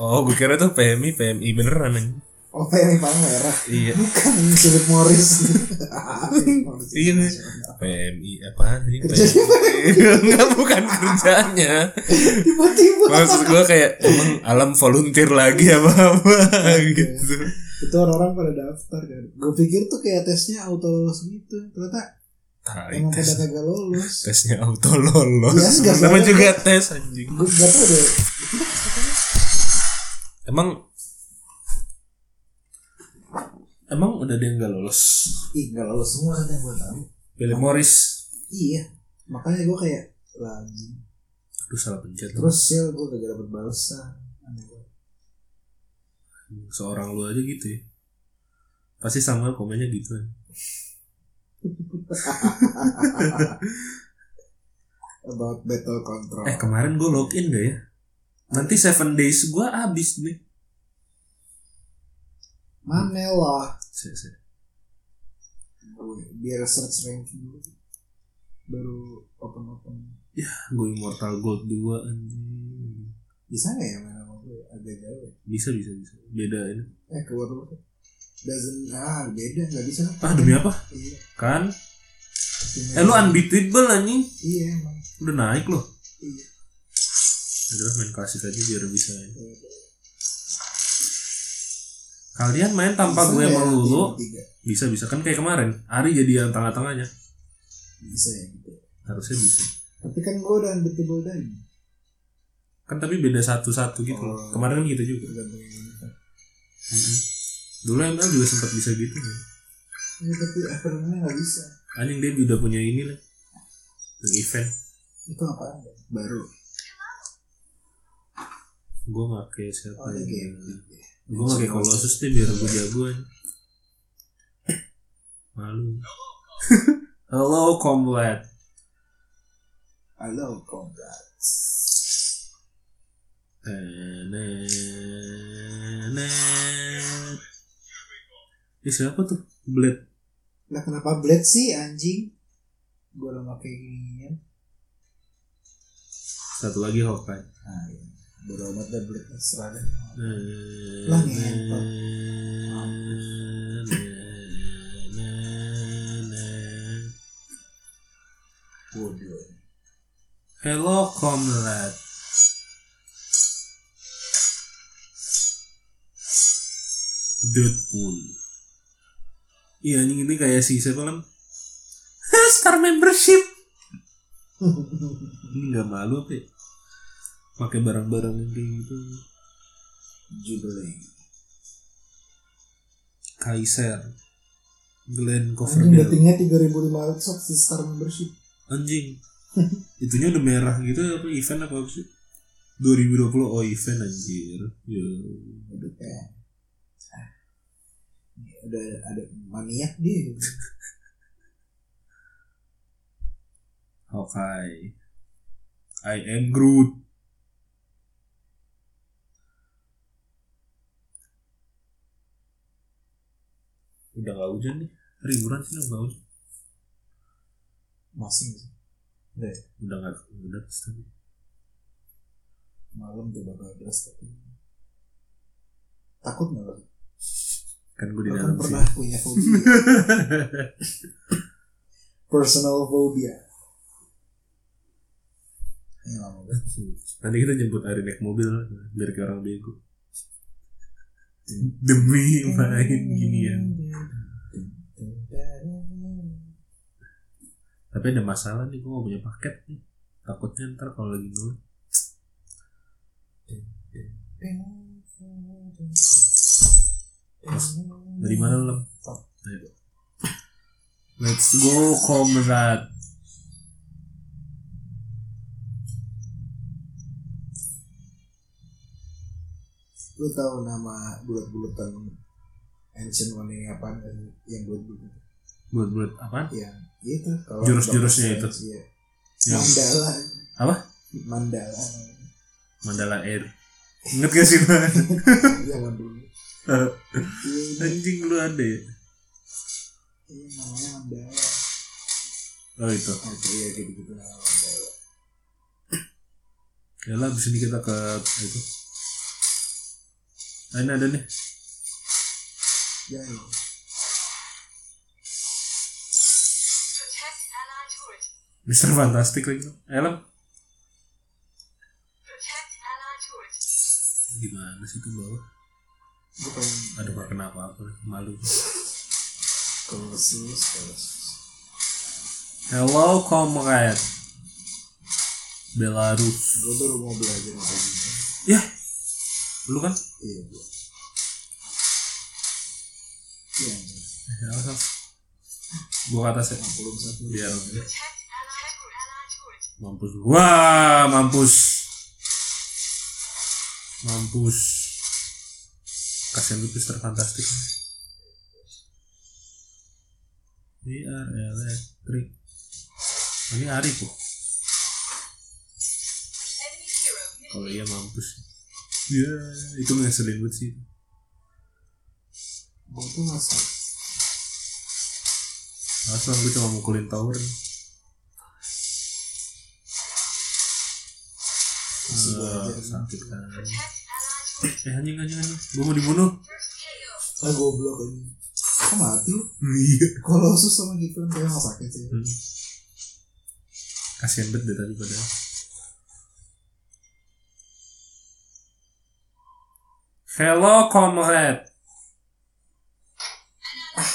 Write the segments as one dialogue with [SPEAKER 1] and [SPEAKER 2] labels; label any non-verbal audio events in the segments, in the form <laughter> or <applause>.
[SPEAKER 1] Oh, gue kira tuh PMI, PMI beneran anjing.
[SPEAKER 2] Oh, PMI paling merah.
[SPEAKER 1] Iya.
[SPEAKER 2] Bukan Philip Morris. Philip Morris.
[SPEAKER 1] Iya nih. PMI apaan sih?
[SPEAKER 2] Kerjanya
[SPEAKER 1] <laughs> Enggak bukan kerjanya.
[SPEAKER 2] Tiba-tiba.
[SPEAKER 1] Maksud gue kayak emang alam volunteer lagi apa apa gitu.
[SPEAKER 2] Itu orang-orang pada daftar kan. Gue pikir tuh kayak tesnya auto lulus gitu. Ternyata
[SPEAKER 1] Tai
[SPEAKER 2] emang
[SPEAKER 1] tes
[SPEAKER 2] pada kagak lulus.
[SPEAKER 1] tesnya auto lolos.
[SPEAKER 2] Iya, enggak
[SPEAKER 1] Nama
[SPEAKER 2] salah.
[SPEAKER 1] juga tes anjing.
[SPEAKER 2] Gue gak tau deh.
[SPEAKER 1] Emang Emang udah dia nggak lolos.
[SPEAKER 2] Ih, gak lulus semua kan yang gue tau.
[SPEAKER 1] Philip Morris.
[SPEAKER 2] Iya. Makanya gue kayak lagi.
[SPEAKER 1] Aduh salah pencet.
[SPEAKER 2] Terus sel gue kagak dapet balasan. Aneh gua.
[SPEAKER 1] seorang lu aja gitu ya. Pasti sama komennya gitu. ya.
[SPEAKER 2] About battle control.
[SPEAKER 1] Eh kemarin gue login gak ya? Nanti 7 days gue habis nih.
[SPEAKER 2] Mana lah.
[SPEAKER 1] Se- se-
[SPEAKER 2] Gue biar search ranking dulu. Baru open-open.
[SPEAKER 1] Gue Immortal Gold 2 anjing.
[SPEAKER 2] Bisa gak ya main sama gue? Agak jauh ya.
[SPEAKER 1] Bisa bisa bisa. Beda ini.
[SPEAKER 2] Eh keluar dulu Doesn't Ah beda gak bisa lah
[SPEAKER 1] Ah demi apa?
[SPEAKER 2] Iya
[SPEAKER 1] Kan?
[SPEAKER 2] cuma-
[SPEAKER 1] Eh lu unbeatable anjing.
[SPEAKER 2] Iya emang
[SPEAKER 1] Udah naik loh.
[SPEAKER 2] Iya
[SPEAKER 1] Udah main klasik aja biar bisa ya.
[SPEAKER 2] Iya.
[SPEAKER 1] Kalian main tanpa
[SPEAKER 2] Bisa
[SPEAKER 1] gue
[SPEAKER 2] ya,
[SPEAKER 1] melulu
[SPEAKER 2] tiga-tiga?
[SPEAKER 1] bisa bisa kan kayak kemarin. Ari jadi yang tengah-tengahnya.
[SPEAKER 2] Bisa ya gitu
[SPEAKER 1] Harusnya bisa.
[SPEAKER 2] Tapi kan gue udah unbeatable dan
[SPEAKER 1] Kan tapi beda satu-satu gitu. loh.
[SPEAKER 2] Oh.
[SPEAKER 1] Kemarin kan gitu juga.
[SPEAKER 2] Tergantung yang ini kan
[SPEAKER 1] Mhm. Dulu ML juga sempat bisa gitu kan.
[SPEAKER 2] Iya tapi apa namanya gak bisa
[SPEAKER 1] Anjing dia udah punya ini lah. Yang event.
[SPEAKER 2] Itu apaan ya? Baru
[SPEAKER 1] Gue pake siapa
[SPEAKER 2] Oh ada
[SPEAKER 1] ya?
[SPEAKER 2] game
[SPEAKER 1] Gue pake Colossus deh biar gue jagoan. Malu. Hello Combat.
[SPEAKER 2] Halo comrades
[SPEAKER 1] Eh siapa tuh? Blade.
[SPEAKER 2] Lah kenapa blade sih anjing Gue udah pake ginian
[SPEAKER 1] Satu lagi Hawkeye.
[SPEAKER 2] Nah iya Bodo amat dah blade Serah deh Lah,
[SPEAKER 1] Lah
[SPEAKER 2] ngentot. Bodoh <laughs>
[SPEAKER 1] Hello comrade. Deadpool. Iya anjing ini kayak si siapa lam? Star membership. Ini nggak malu apa ya? Pakai barang-barang yang kayak gitu.
[SPEAKER 2] Jubilee
[SPEAKER 1] Kaiser. Glenn
[SPEAKER 2] Anjing
[SPEAKER 1] Coverdale.
[SPEAKER 2] datingnya 3500 sok si star membership
[SPEAKER 1] Anjing. <laughs> Itunya udah merah gitu apa event apa sih? 2020 oh event anjir. Ya.
[SPEAKER 2] udah kayak ah, ini udah ada maniak dia gitu.
[SPEAKER 1] Hawkeye. I am Groot. Udah gak hujan nih. Ribuan sih nggak hujan.
[SPEAKER 2] masing sih
[SPEAKER 1] Udah gak udah pasti.
[SPEAKER 2] malam tuh bakal deras tapi takut nggak lo?
[SPEAKER 1] Kan gue di
[SPEAKER 2] Lo kan
[SPEAKER 1] dalam sih.
[SPEAKER 2] pernah punya fobia personal phobia ini lama banget
[SPEAKER 1] <laughs> Nanti kita jemput Ari naik mobil biar kayak orang bego. Demi main ginian. Tapi ada masalah nih, gue gak punya paket nih. Takutnya ntar kalau lagi ngeluh. Dari mana lo? Lem? Ayo. Let's go, comrade.
[SPEAKER 2] lu tahu nama bulat-bulatan ancient one ini apa yang bulat-bulat
[SPEAKER 1] Buat-buat apaan?
[SPEAKER 2] yang itu Iya, gitu. kalau
[SPEAKER 1] Jurus-jurusnya itu.
[SPEAKER 2] Doctor Strange, iya.
[SPEAKER 1] Yang
[SPEAKER 2] mandala
[SPEAKER 1] Apa?
[SPEAKER 2] mandala
[SPEAKER 1] Mandala Air. Ingat gak sih lo?
[SPEAKER 2] zaman dulu iya ini-
[SPEAKER 1] Anjing lu ada ya?
[SPEAKER 2] iya, namanya mandala
[SPEAKER 1] Oh itu.
[SPEAKER 2] oke iya gitu gitu nama mandala
[SPEAKER 1] Ya lah, abis ini kita ke itu. Ah, Ini ada nih.
[SPEAKER 2] Jangan.
[SPEAKER 3] Protect Allied turret.
[SPEAKER 1] Mister Fantastic lagi. Eh, Elem.
[SPEAKER 3] Protect Allied turret.
[SPEAKER 1] Gimana sih tuh bawah?
[SPEAKER 2] Gue pengen
[SPEAKER 1] Aduh, gak kenapa aku malu.
[SPEAKER 2] Colossus, Colossus.
[SPEAKER 1] Hello, comrade. Belarus.
[SPEAKER 2] Gue baru mau belajar apa gitu.
[SPEAKER 1] Ya, lu kan?
[SPEAKER 2] Iya gue. Iya.
[SPEAKER 1] Ya, Sam. Gua kata saya.
[SPEAKER 2] 61.
[SPEAKER 1] Iya.
[SPEAKER 3] Protect Allied turret. Allied turret.
[SPEAKER 1] Mampus. Wah, mampus. Mampus. Kasihan lu Mister Fantastic. We are electric. Ini Arif loh.
[SPEAKER 3] Enemy hero.
[SPEAKER 1] Kalau iya mampus. Iya, itu ngeselin banget sih.
[SPEAKER 2] Gue tuh masih.
[SPEAKER 1] Asal gue cuma mukulin tower.
[SPEAKER 2] Masih
[SPEAKER 1] Ah,
[SPEAKER 2] belajar.
[SPEAKER 1] sakit kan.
[SPEAKER 3] Protect Allied turret.
[SPEAKER 1] Eh anjing anjing anjing, gue mau dibunuh.
[SPEAKER 3] First KO.
[SPEAKER 2] Ah goblok ini. Kok mati lu?
[SPEAKER 1] Iya.
[SPEAKER 2] Colossus sama gitu kan emang sakit sih.
[SPEAKER 1] Hmm. Kasian banget deh tadi padahal. Hello comrade. Ah.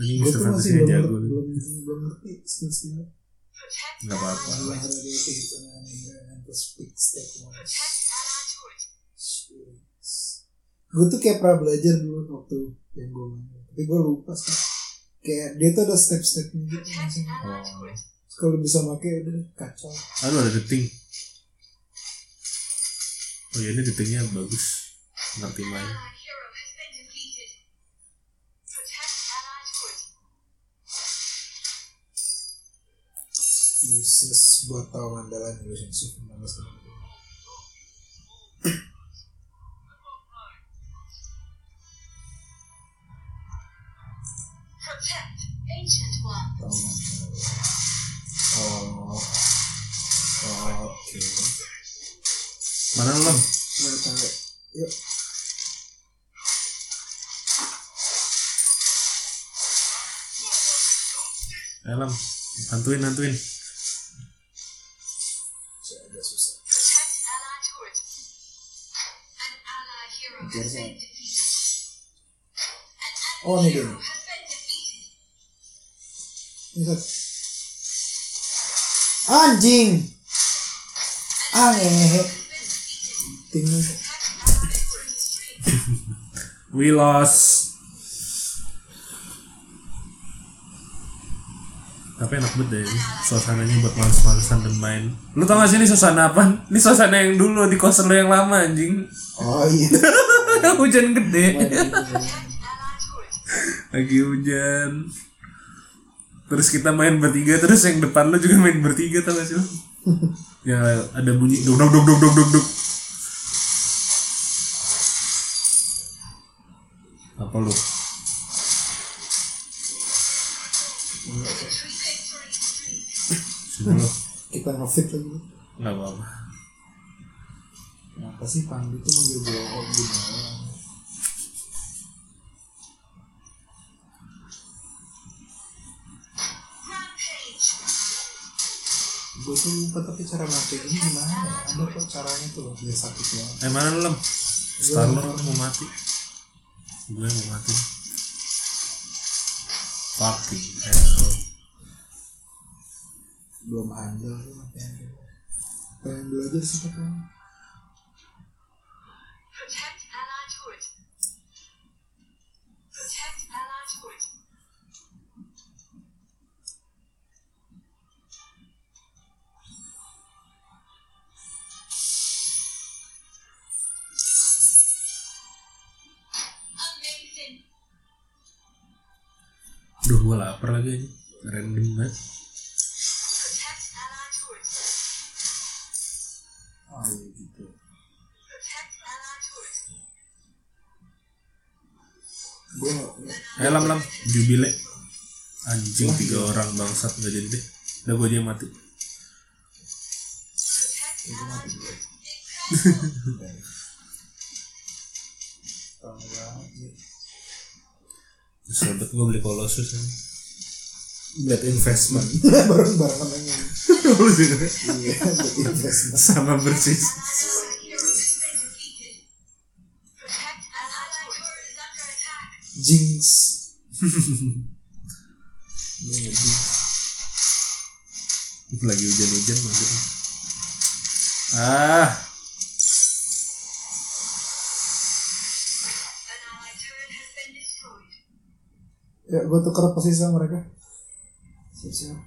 [SPEAKER 1] Ini Mr.
[SPEAKER 2] Gue tuh masih
[SPEAKER 1] Fantasy
[SPEAKER 2] Iya, belum,
[SPEAKER 1] jago
[SPEAKER 2] belum,
[SPEAKER 1] nih.
[SPEAKER 2] belum, belum ngerti ya? skill-skillnya.
[SPEAKER 3] Protect
[SPEAKER 1] Gak apa-apa.
[SPEAKER 2] Gue harus ada kehitungan yang terus pick step once.
[SPEAKER 3] Protect Allied turret.
[SPEAKER 2] Gue tuh kayak pernah belajar dulu waktu yang gue main. Tapi gue lupa sih. Kayak dia tuh ada step-stepnya gitu
[SPEAKER 3] Protect
[SPEAKER 2] masing
[SPEAKER 3] Allied
[SPEAKER 1] Oh.
[SPEAKER 3] turret.
[SPEAKER 2] Kalau bisa pakai ya udah kacau.
[SPEAKER 1] Aduh ada deting. Oh ya ini detingnya bagus. Ngerti main.
[SPEAKER 3] Allied hero has been defeated. Protect Allied turret.
[SPEAKER 2] Uses buat tahu andalan relationship malas
[SPEAKER 3] Protect Ancient One.
[SPEAKER 2] tahu andalan. Oh, oke.
[SPEAKER 1] Mana lo?
[SPEAKER 2] Mulai tarik. Nah, Yuk.
[SPEAKER 1] Elam. Hantuin hantuin.
[SPEAKER 2] Saya agak susah.
[SPEAKER 3] Protect Allied turret. An Allied hero has been defeated. An
[SPEAKER 2] Oh, ini
[SPEAKER 3] enemy
[SPEAKER 2] dia.
[SPEAKER 3] hero has been
[SPEAKER 2] Ini
[SPEAKER 3] defeated.
[SPEAKER 2] satu. Anjing. Ah, ngehe. Tinggi.
[SPEAKER 3] Protect Allied turret is free.
[SPEAKER 1] We lost. Tapi enak banget deh ini suasananya buat males-malesan dan main. Lu tau gak sih ini suasana apa? Ini suasana yang dulu di kosan lu yang lama anjing. <laughs>
[SPEAKER 2] Oh iya.
[SPEAKER 1] hujan gede.
[SPEAKER 3] Protect Allied turret.
[SPEAKER 1] Lagi hujan. Terus kita main bertiga terus yang depan lu juga main bertiga tau gak sih lu? ya ada bunyi dok dok dok dok dok dok dok. Apa lu?
[SPEAKER 3] Three victory streak.
[SPEAKER 1] Sini lu.
[SPEAKER 2] Kita ngefit lagi.
[SPEAKER 1] Gak apa-apa.
[SPEAKER 2] Kenapa sih Pandu tuh manggil bohong gimana?
[SPEAKER 3] Rampage.
[SPEAKER 2] Gue tuh lupa tapi cara ngakek ini gimana ya? Ada kok caranya tuh loh, dia sakit ya. banget.
[SPEAKER 1] Eh mana lu Lem? Star Lord mau mati Gue mau mati Fucking hell
[SPEAKER 2] Belum handal tuh makanya. Pengen belajar sih kata.
[SPEAKER 3] Protect Allied turret. Protect Allied turret. Amazing.
[SPEAKER 1] Duh gue lapar lagi aja Random banget
[SPEAKER 3] Protect Allied turret.
[SPEAKER 2] Oh iya gitu.
[SPEAKER 3] Protect Allied turret.
[SPEAKER 2] Gue nggak.
[SPEAKER 1] Eh Lam Lam Jubile Anjing tiga orang bangsat gak jadi deh Udah gue aja yang mati
[SPEAKER 3] Protect Allied turret. Incredible.
[SPEAKER 2] <laughs>
[SPEAKER 4] Sobat gue beli Colossus kan.
[SPEAKER 1] Buat investment. <laughs>
[SPEAKER 2] bareng-bareng namanya
[SPEAKER 1] Lu juga.
[SPEAKER 2] iya buat investment
[SPEAKER 1] Sama persis.
[SPEAKER 2] jinx Iya, nggak jinx.
[SPEAKER 1] Lagi hujan-hujan masuk. Ah,
[SPEAKER 2] ya gue tuker posisi sama mereka siap-siap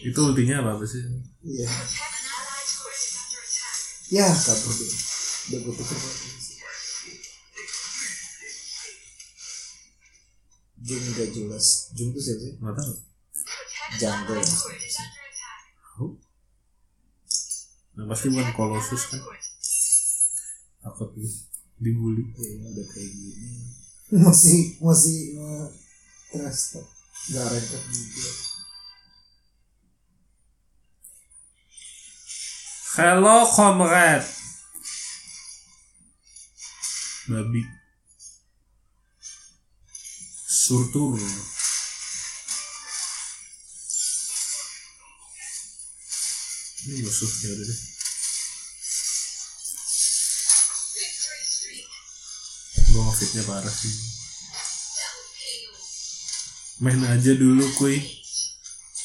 [SPEAKER 1] itu ultinya apa, apa sih?
[SPEAKER 2] iya ya kabur deh udah gue tuker posisi Jung udah jelas Jung tuh siapa sih?
[SPEAKER 1] Nggak tahu.
[SPEAKER 2] Jungle
[SPEAKER 1] Nah, pasti bukan Colossus kan. Takut gue dibully.
[SPEAKER 2] ya ini udah kayak gini masih masih uh, trust kok. nggak gitu. rengket juga
[SPEAKER 1] Hello, comrade. Babi. Surtur. Ini musuhnya udah deh. Gue ngefitnya parah sih. Main aja dulu, kuy.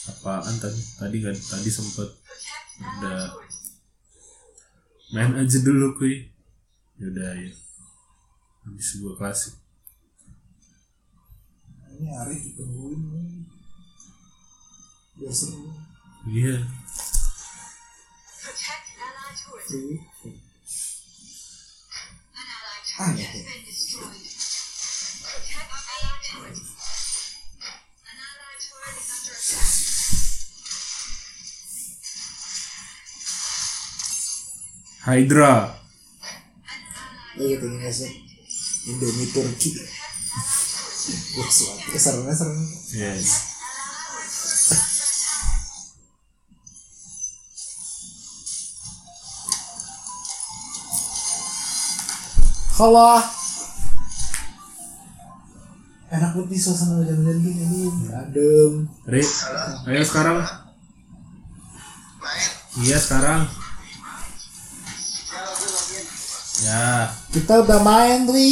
[SPEAKER 1] Apaan tadi? Tadi kan tadi sempet Udah. main aja dulu kuy yaudah ya habis gua klasik
[SPEAKER 2] Nah, ini hari ditungguin nih biar seru
[SPEAKER 1] iya
[SPEAKER 2] free Ah, ya.
[SPEAKER 1] Hydra
[SPEAKER 2] lo gitu ini sih Indomie Turki Wah, suatu keseruannya serem
[SPEAKER 1] yes
[SPEAKER 2] Halo Enak banget nih suasana hujan-hujan gini nih Adem
[SPEAKER 1] Re ayo sekarang iya sekarang ya
[SPEAKER 2] Kita udah main Tri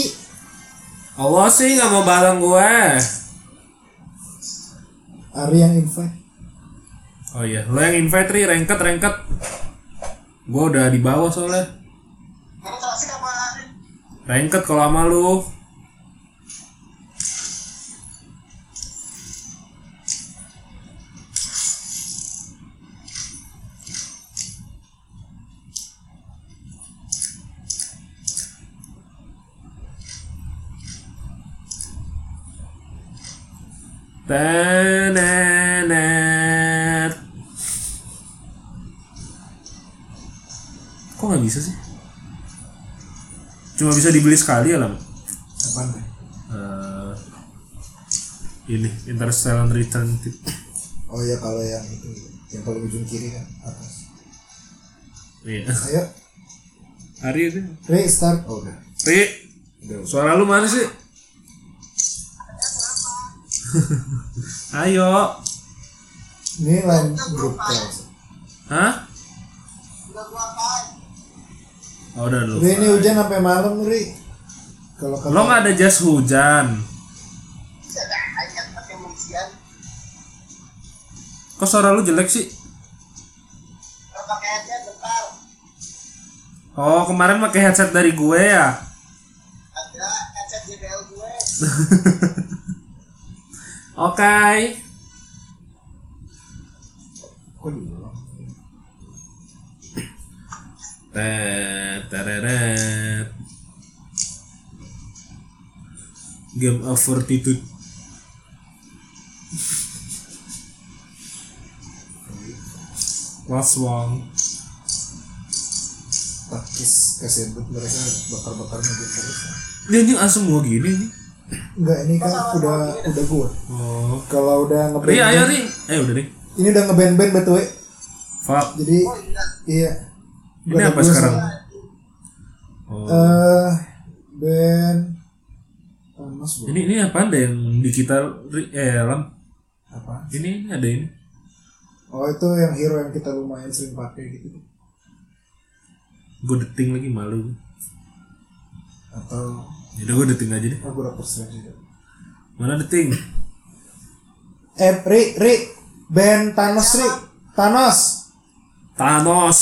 [SPEAKER 1] Allah sih nggak mau bareng gue
[SPEAKER 2] Ari yang invite
[SPEAKER 1] oh iya lo yang infantry rengket rengket gue udah di bawah soalnya rengket kalau sama lu Tenenet. Kok nggak bisa sih? Cuma bisa dibeli sekali ya lama.
[SPEAKER 2] Apaan deh?
[SPEAKER 1] Eh, ini Interstellar Return tip.
[SPEAKER 2] Oh iya kalau yang itu Yang paling ujung kiri kan atas
[SPEAKER 1] Iya.
[SPEAKER 2] Ayo
[SPEAKER 1] Ari itu.
[SPEAKER 2] Ri start Oh udah
[SPEAKER 1] Ri,
[SPEAKER 2] Udah
[SPEAKER 1] suara lu mana sih? Ayo.
[SPEAKER 2] Ini lain grup call
[SPEAKER 1] Hah? Oh, udah lu.
[SPEAKER 2] Ri ini hujan sampai malam Ri Kalau kata
[SPEAKER 1] Lo nggak ada jas hujan. Kok suara lu jelek sih? Oh, kemarin pakai headset dari gue ya? Oke.
[SPEAKER 2] Kok diulang?
[SPEAKER 1] Tet, tereret. Game of Fortitude. Last one.
[SPEAKER 2] taktis kasihan banget mereka bakar-bakar mobil terus
[SPEAKER 1] Dia anjing asem gua gini nih.
[SPEAKER 2] enggak ini kan udah udah gua
[SPEAKER 1] Oh.
[SPEAKER 2] kalau udah
[SPEAKER 1] Ri,
[SPEAKER 2] ngeband
[SPEAKER 1] ayo Ri. Eh udah Ri.
[SPEAKER 2] ini udah ngeband band betul ya
[SPEAKER 1] Fuck.
[SPEAKER 2] jadi iya
[SPEAKER 1] Ini
[SPEAKER 2] Udah
[SPEAKER 1] apa Oh.
[SPEAKER 2] gua
[SPEAKER 1] sekarang?
[SPEAKER 2] Eh, sama-
[SPEAKER 1] Oh.
[SPEAKER 2] eh band Thanos bu.
[SPEAKER 1] Ini ini apa ada yang di kita ri- eh Lam?
[SPEAKER 2] apa?
[SPEAKER 1] Ini ini ada ini.
[SPEAKER 2] Oh itu yang hero yang kita lumayan sering pakai gitu.
[SPEAKER 1] Gue deting lagi malu.
[SPEAKER 2] Atau
[SPEAKER 1] Jadi gue deting aja deh.
[SPEAKER 2] aku udah Strange juga.
[SPEAKER 1] Mana deting?
[SPEAKER 2] Eh Ri Ri Ben Thanos Ri Thanos.
[SPEAKER 1] Thanos.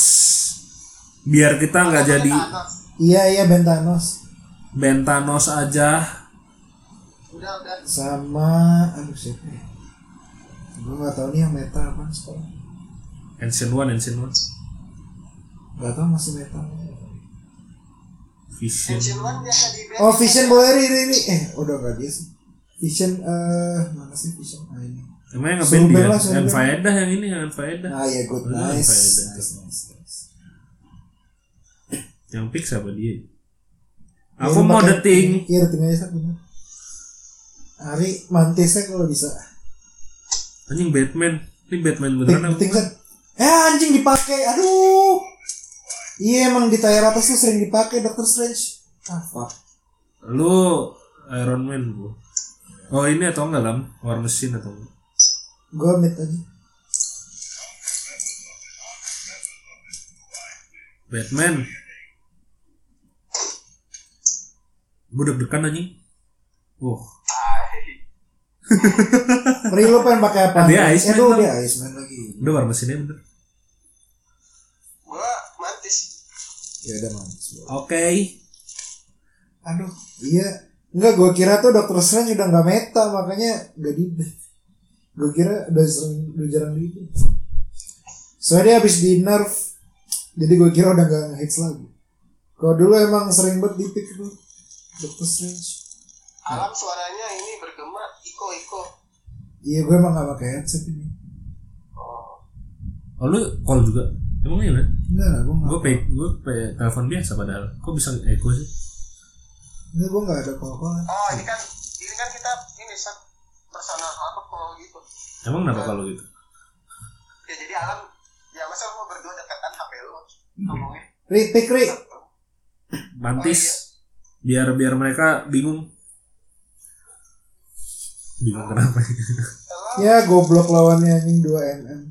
[SPEAKER 1] Biar kita nggak jadi
[SPEAKER 5] Thanos.
[SPEAKER 2] Iya iya Ben Thanos
[SPEAKER 1] band Thanos aja.
[SPEAKER 5] Udah udah.
[SPEAKER 2] sama aduh siapa ya? Gue nggak tahu nih yang meta apa sekarang.
[SPEAKER 1] Ancient One, Ancient One.
[SPEAKER 2] Gak tahu masih meta.
[SPEAKER 1] Vision.
[SPEAKER 5] Action One biasa di
[SPEAKER 2] Oh Vision boleh Ri Ri Ri eh udah gak dia sih. Vision eh mana sih Vision? Ah ini.
[SPEAKER 1] Emang yang ngeband
[SPEAKER 2] Suruh
[SPEAKER 1] dia?
[SPEAKER 2] bela, suruh
[SPEAKER 1] Yang
[SPEAKER 2] bela.
[SPEAKER 1] Faedah yang ini, yang Faedah.
[SPEAKER 2] Ah ya good
[SPEAKER 1] Oh, iya,
[SPEAKER 2] nice.
[SPEAKER 1] faedah.
[SPEAKER 2] Nice, nice, nice.
[SPEAKER 1] Yang fix apa dia?
[SPEAKER 2] Ya,
[SPEAKER 1] Aku
[SPEAKER 2] lu
[SPEAKER 1] mau
[SPEAKER 2] pakai-
[SPEAKER 1] deting.
[SPEAKER 2] Iya deting aja satu. Ari mantisnya kalau bisa.
[SPEAKER 1] Anjing Batman. Ini Batman beneran kan? apa?
[SPEAKER 2] Deting set. Eh anjing dipakai. Aduh. Iya emang di layar atas tuh sering dipakai Doctor Strange. Ah fuck.
[SPEAKER 1] Lu Iron Man bu. Oh ini atau enggak lam? War Machine atau enggak?
[SPEAKER 2] Gua mid aja.
[SPEAKER 1] Batman. Gue deg-degan anjing. Wah.
[SPEAKER 2] Pri lu pengen pakai apa?
[SPEAKER 1] Ah, dia Iceman
[SPEAKER 2] Aduh
[SPEAKER 1] dong.
[SPEAKER 2] dia Iceman lagi.
[SPEAKER 1] Udah War Machine bener.
[SPEAKER 5] Gua mantis.
[SPEAKER 2] Ya udah mantis.
[SPEAKER 1] Oke.
[SPEAKER 2] Aduh. Iya. Enggak gua kira tuh Doctor Strange udah nggak meta makanya gak di. Gua kira udah sering udah jarang di. Soalnya dia habis di nerf. Jadi gua kira udah gak hits lagi. Kalau dulu emang sering banget di pick tuh Doctor Strange.
[SPEAKER 5] Alam suaranya ini bergema. Iko Iko.
[SPEAKER 2] Iya gue emang gak pakai headset ini.
[SPEAKER 5] Oh.
[SPEAKER 1] Oh lu call juga? Emang iya Bang?
[SPEAKER 2] Enggak lah gue
[SPEAKER 1] Gue
[SPEAKER 2] gak.
[SPEAKER 1] pe gue pe telepon biasa padahal. Kok bisa echo sih?
[SPEAKER 2] Enggak gue gak ada call-callan.
[SPEAKER 5] Oh ini kan ini kan kita ini set personal apa kalau gitu.
[SPEAKER 1] Emang kenapa kalau gitu?
[SPEAKER 5] Ya jadi Alam ya masa lu mau berdua deketan HP lu ngomongnya.
[SPEAKER 2] Ri, pick Ri.
[SPEAKER 1] Mantis. Biar biar mereka bingung. Bingung kenapa? <laughs>
[SPEAKER 5] Kalau
[SPEAKER 2] Ya goblok lawannya anjing 2 mm.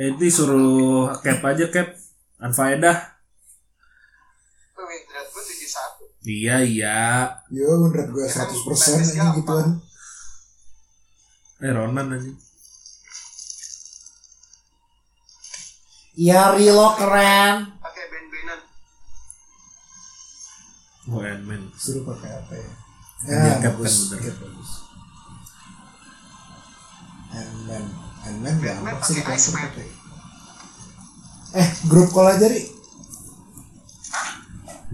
[SPEAKER 1] Eh, ini suruh cap aja cap. Anfaedah.
[SPEAKER 5] Windred gua tujuh satu.
[SPEAKER 1] Iya iya.
[SPEAKER 2] Yo menurut gue 100% anjing gituan.
[SPEAKER 1] Eh Ronan anjing.
[SPEAKER 2] Ya Ri lo keren.
[SPEAKER 5] Pakai ben-benan.
[SPEAKER 1] Oh Ant-Man.
[SPEAKER 2] Suruh pakai apa ya?
[SPEAKER 1] Dia
[SPEAKER 2] Ya,
[SPEAKER 1] captain
[SPEAKER 2] bagus.
[SPEAKER 1] bener.
[SPEAKER 2] Dia bagus. Ant-Man. Ant-Man gak
[SPEAKER 5] Batman
[SPEAKER 2] amat sih
[SPEAKER 5] pakai
[SPEAKER 2] dikasih
[SPEAKER 5] Iceman.
[SPEAKER 2] pakai. Eh, grup call aja, Ri.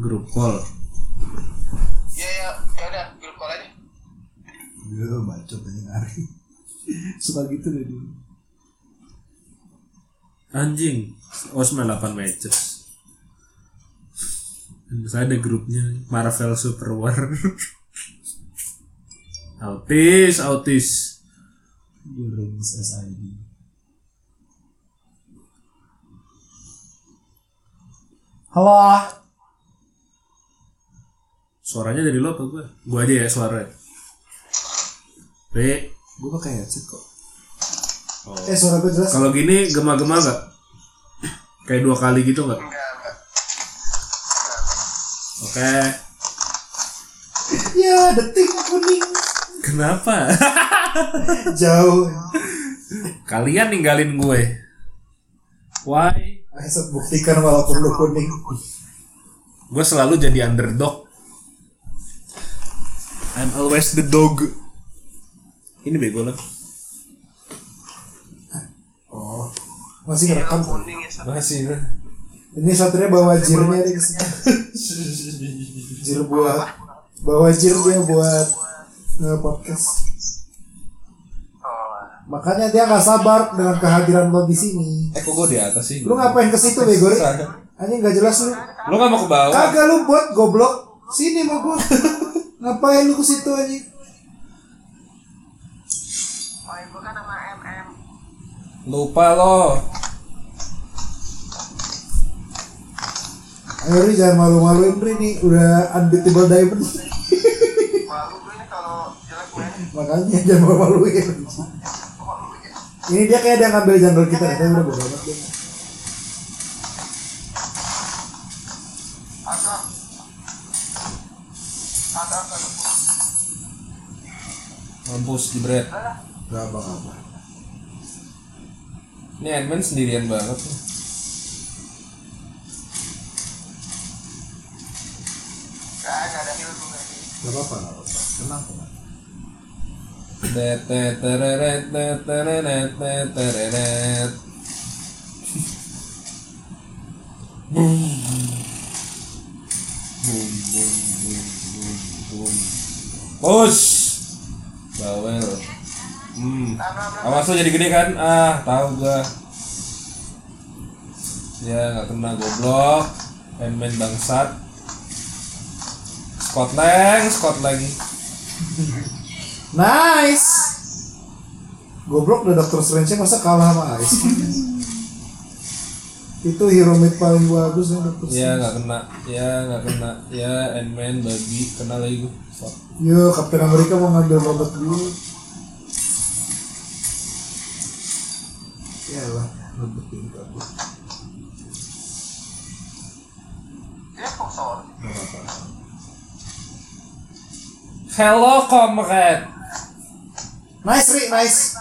[SPEAKER 1] Grup call.
[SPEAKER 5] Ya ya ya udah grup call aja.
[SPEAKER 2] Gue bacot anjing Ari. <laughs> Suka gitu deh dia.
[SPEAKER 1] Anjing. Oh 98 matches. Saya ada grupnya Marvel Super War. <laughs> autis, autis.
[SPEAKER 2] Rings SID. Halo.
[SPEAKER 1] Suaranya dari lo apa gue? Gue aja ya suara. B.
[SPEAKER 2] Gue pakai headset kok.
[SPEAKER 1] Oh.
[SPEAKER 2] Eh, suara gue jelas.
[SPEAKER 1] Kalau gini gema-gema nggak? Kayak dua kali gitu nggak?
[SPEAKER 5] Enggak enggak.
[SPEAKER 1] Oke.
[SPEAKER 2] Ya, detik kuning.
[SPEAKER 1] Kenapa? <laughs>
[SPEAKER 2] Jauh.
[SPEAKER 1] Kalian ninggalin gue. Why?
[SPEAKER 2] Headset buktikan walaupun lu kuning.
[SPEAKER 1] Gue selalu jadi underdog. I'm always the dog. Ini bego lah.
[SPEAKER 2] Oh. Masih ngerekam tuh.
[SPEAKER 5] Kuning ya satu.
[SPEAKER 1] Masih lah.
[SPEAKER 2] Ini satria bawa jirnya Rik. jir buat bawa jir dia buat eh, podcast.
[SPEAKER 5] Oh.
[SPEAKER 2] Makanya dia nggak sabar dengan kehadiran lo di sini.
[SPEAKER 1] Eh kok gue di atas sih?
[SPEAKER 2] Lu ngapain ke situ bego? Rik? Anjing nggak jelas lu.
[SPEAKER 1] Lu nggak mau ke bawah?
[SPEAKER 2] Kagak lu buat goblok. Sini mau <laughs> gua. ngapain lu ke situ anjing?
[SPEAKER 5] Oh, ibu kan sama MM.
[SPEAKER 1] Lupa lo.
[SPEAKER 2] Ayo Ri jangan malu-maluin Ri nih udah unbeatable diamond
[SPEAKER 5] Malu gue nih kalau jelek gue.
[SPEAKER 2] makanya <laughs> jangan malu-maluin. Ini dia kayak ada ngambil jungle kita deh, tapi udah bodo amat deh.
[SPEAKER 5] Ada. Ada apa?
[SPEAKER 1] Mampus jebret.
[SPEAKER 2] Gak apa-apa.
[SPEAKER 1] Ini Edmund sendirian banget nih.
[SPEAKER 5] Gak ada, ada heal gue.
[SPEAKER 2] Gak apa-apa, gak apa-apa. Tenang, tenang.
[SPEAKER 1] Tet, tet, tereret, tet, tereret, tet, tereret. Boom. Boom, boom, boom, boom, boom. Push. Bawel. Hmm.
[SPEAKER 5] Nah, nah, nah.
[SPEAKER 1] Awas lo jadi gede kan? Ah, tahu gua. Ya nggak kena goblok. Handman bangsat. Scotland, Scotland.
[SPEAKER 2] Nice. Goblok udah Dr. Strange masa kalah sama Ice. <laughs> Itu hero mid paling bagus nih Dr.
[SPEAKER 1] Ya
[SPEAKER 2] Strange.
[SPEAKER 1] nggak kena, ya nggak kena, ya Handman babi kena lagi gua. Fuck.
[SPEAKER 2] Yo, Iya, Captain America mau ngambil robot dulu. Yalah, Ya robot ini bagus.
[SPEAKER 5] Dia sponsor.
[SPEAKER 2] Gak apa-apa.
[SPEAKER 1] Hello comrade,
[SPEAKER 2] Nice, Ri, nice.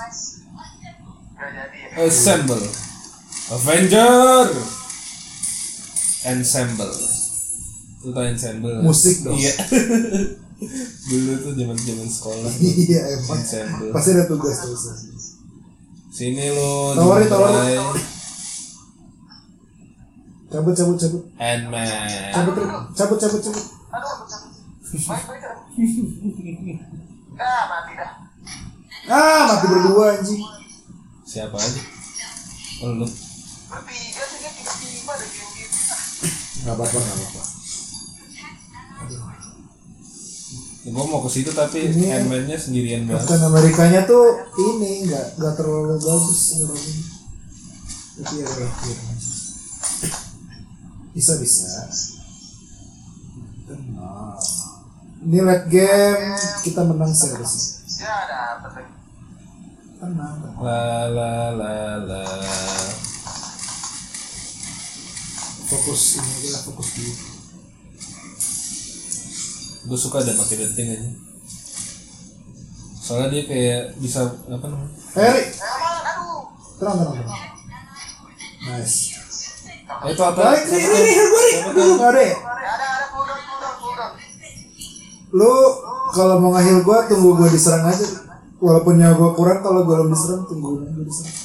[SPEAKER 5] Gak jadi ya.
[SPEAKER 1] assemble, Avenger, ensemble. Itu tau ensemble.
[SPEAKER 2] Musik dong.
[SPEAKER 1] Iya. <laughs> Dulu tuh zaman zaman sekolah.
[SPEAKER 2] Iya, emang.
[SPEAKER 1] Ensemble.
[SPEAKER 2] <laughs> Pasti ada tugas tugas.
[SPEAKER 1] Sini lu
[SPEAKER 2] Tawarin,
[SPEAKER 1] dimulai.
[SPEAKER 2] tawarin. Cabut, cabut, cabut.
[SPEAKER 1] Ant-Man
[SPEAKER 2] Cabut, Ri. cabut, cabut, cabut.
[SPEAKER 5] Aduh, aku cabut. Baik, baik. <laughs> cabut. Ah, mati dah.
[SPEAKER 2] Ah, mati berdua anjing.
[SPEAKER 1] Siapa aja? Oh, lu
[SPEAKER 5] Bertiga sih dia tiba-tiba ada game-game.
[SPEAKER 2] Gak apa-apa, gak apa-apa.
[SPEAKER 1] Gue Ya, mau ke situ tapi
[SPEAKER 2] Ini-
[SPEAKER 1] Ant-Man-nya sendirian banget
[SPEAKER 2] Captain Amerikanya tuh ini nggak nggak terlalu bagus menurutnya. Tapi ya udah, ya udah. Bisa bisa. Tenang. Ini late game kita menang sih harusnya.
[SPEAKER 5] Ya, ada apa lagi?
[SPEAKER 2] Tenang. tenang.
[SPEAKER 1] La la la la
[SPEAKER 2] Fokus ini aja lah, fokus dulu.
[SPEAKER 1] Gue suka ada pakai denting aja Soalnya dia kayak bisa apa namanya
[SPEAKER 2] Eh, Ri,
[SPEAKER 5] Eh, mana? Aduh.
[SPEAKER 2] tenang tenang tenang. Nice.
[SPEAKER 1] Eh, Itu apa?
[SPEAKER 2] Baik, Ri, Ri, Ri, Ri, Ri, Aduh, nggak ada ya?
[SPEAKER 5] Ada, ada, ada. Cool down, cool down, cool down.
[SPEAKER 2] Lu kalau mau ngahil gua tunggu gua diserang aja. Walaupun nyawa gua kurang kalau gua belum diserang tunggu gua diserang.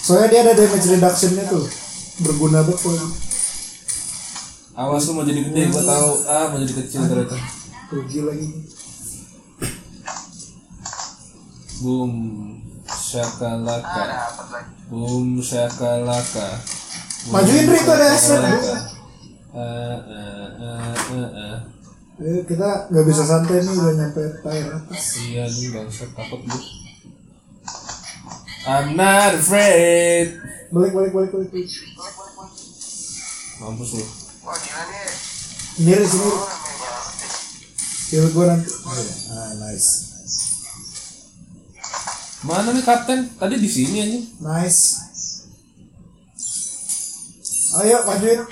[SPEAKER 2] Soalnya dia ada damage reduction-nya tuh. Berguna banget kalau gitu.
[SPEAKER 1] Awas lu mau jadi gede, gue tahu. Ah mau jadi kecil ternyata.
[SPEAKER 2] rugi lagi.
[SPEAKER 1] Boom, shakalaka,
[SPEAKER 5] Ada apa lagi?
[SPEAKER 1] boom shakalaka. Boom,
[SPEAKER 2] Majuin, Ri, tuh ada
[SPEAKER 1] shakalaka.
[SPEAKER 2] Aslan.
[SPEAKER 1] Eh, eh, eh, eh, eh.
[SPEAKER 2] Ayo kita nggak bisa santai nih udah nyampe tier atas.
[SPEAKER 1] Iya nih bangsa takut gue. I'm not afraid.
[SPEAKER 2] Balik balik balik balik. balik.
[SPEAKER 5] Boleh, boleh, boleh.
[SPEAKER 1] Mampus lu.
[SPEAKER 5] Wah, gila nih.
[SPEAKER 2] Ini di sini
[SPEAKER 5] Orang main banget.
[SPEAKER 2] heal gua nanti. Oh, iya. Ah nice.
[SPEAKER 1] Mana nih kapten? Tadi di sini aja.
[SPEAKER 2] Nice. Ayo majuin.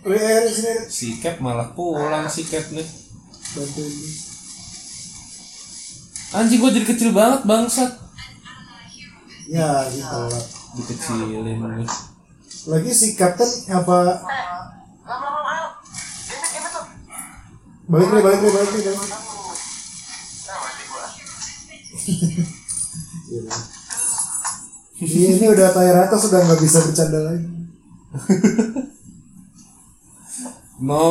[SPEAKER 2] Ri, eh, Ri, sini Ri.
[SPEAKER 1] Si Cap malah pulang si Cap nih.
[SPEAKER 2] bantuin.
[SPEAKER 1] Anjing gue jadi kecil banget bangsat.
[SPEAKER 2] Ya gitu lah.
[SPEAKER 1] Dikecilin gue.
[SPEAKER 2] Lagi si Captain apa
[SPEAKER 5] Eh, lama, lama, ayo. Ini, ini tuh.
[SPEAKER 2] balik nih balik nih balik nih balik nih.
[SPEAKER 5] Aduh. Nah, mati gua.
[SPEAKER 2] Iya. Iya, ini udah tayar atas sudah nggak bisa bercanda lagi.
[SPEAKER 1] No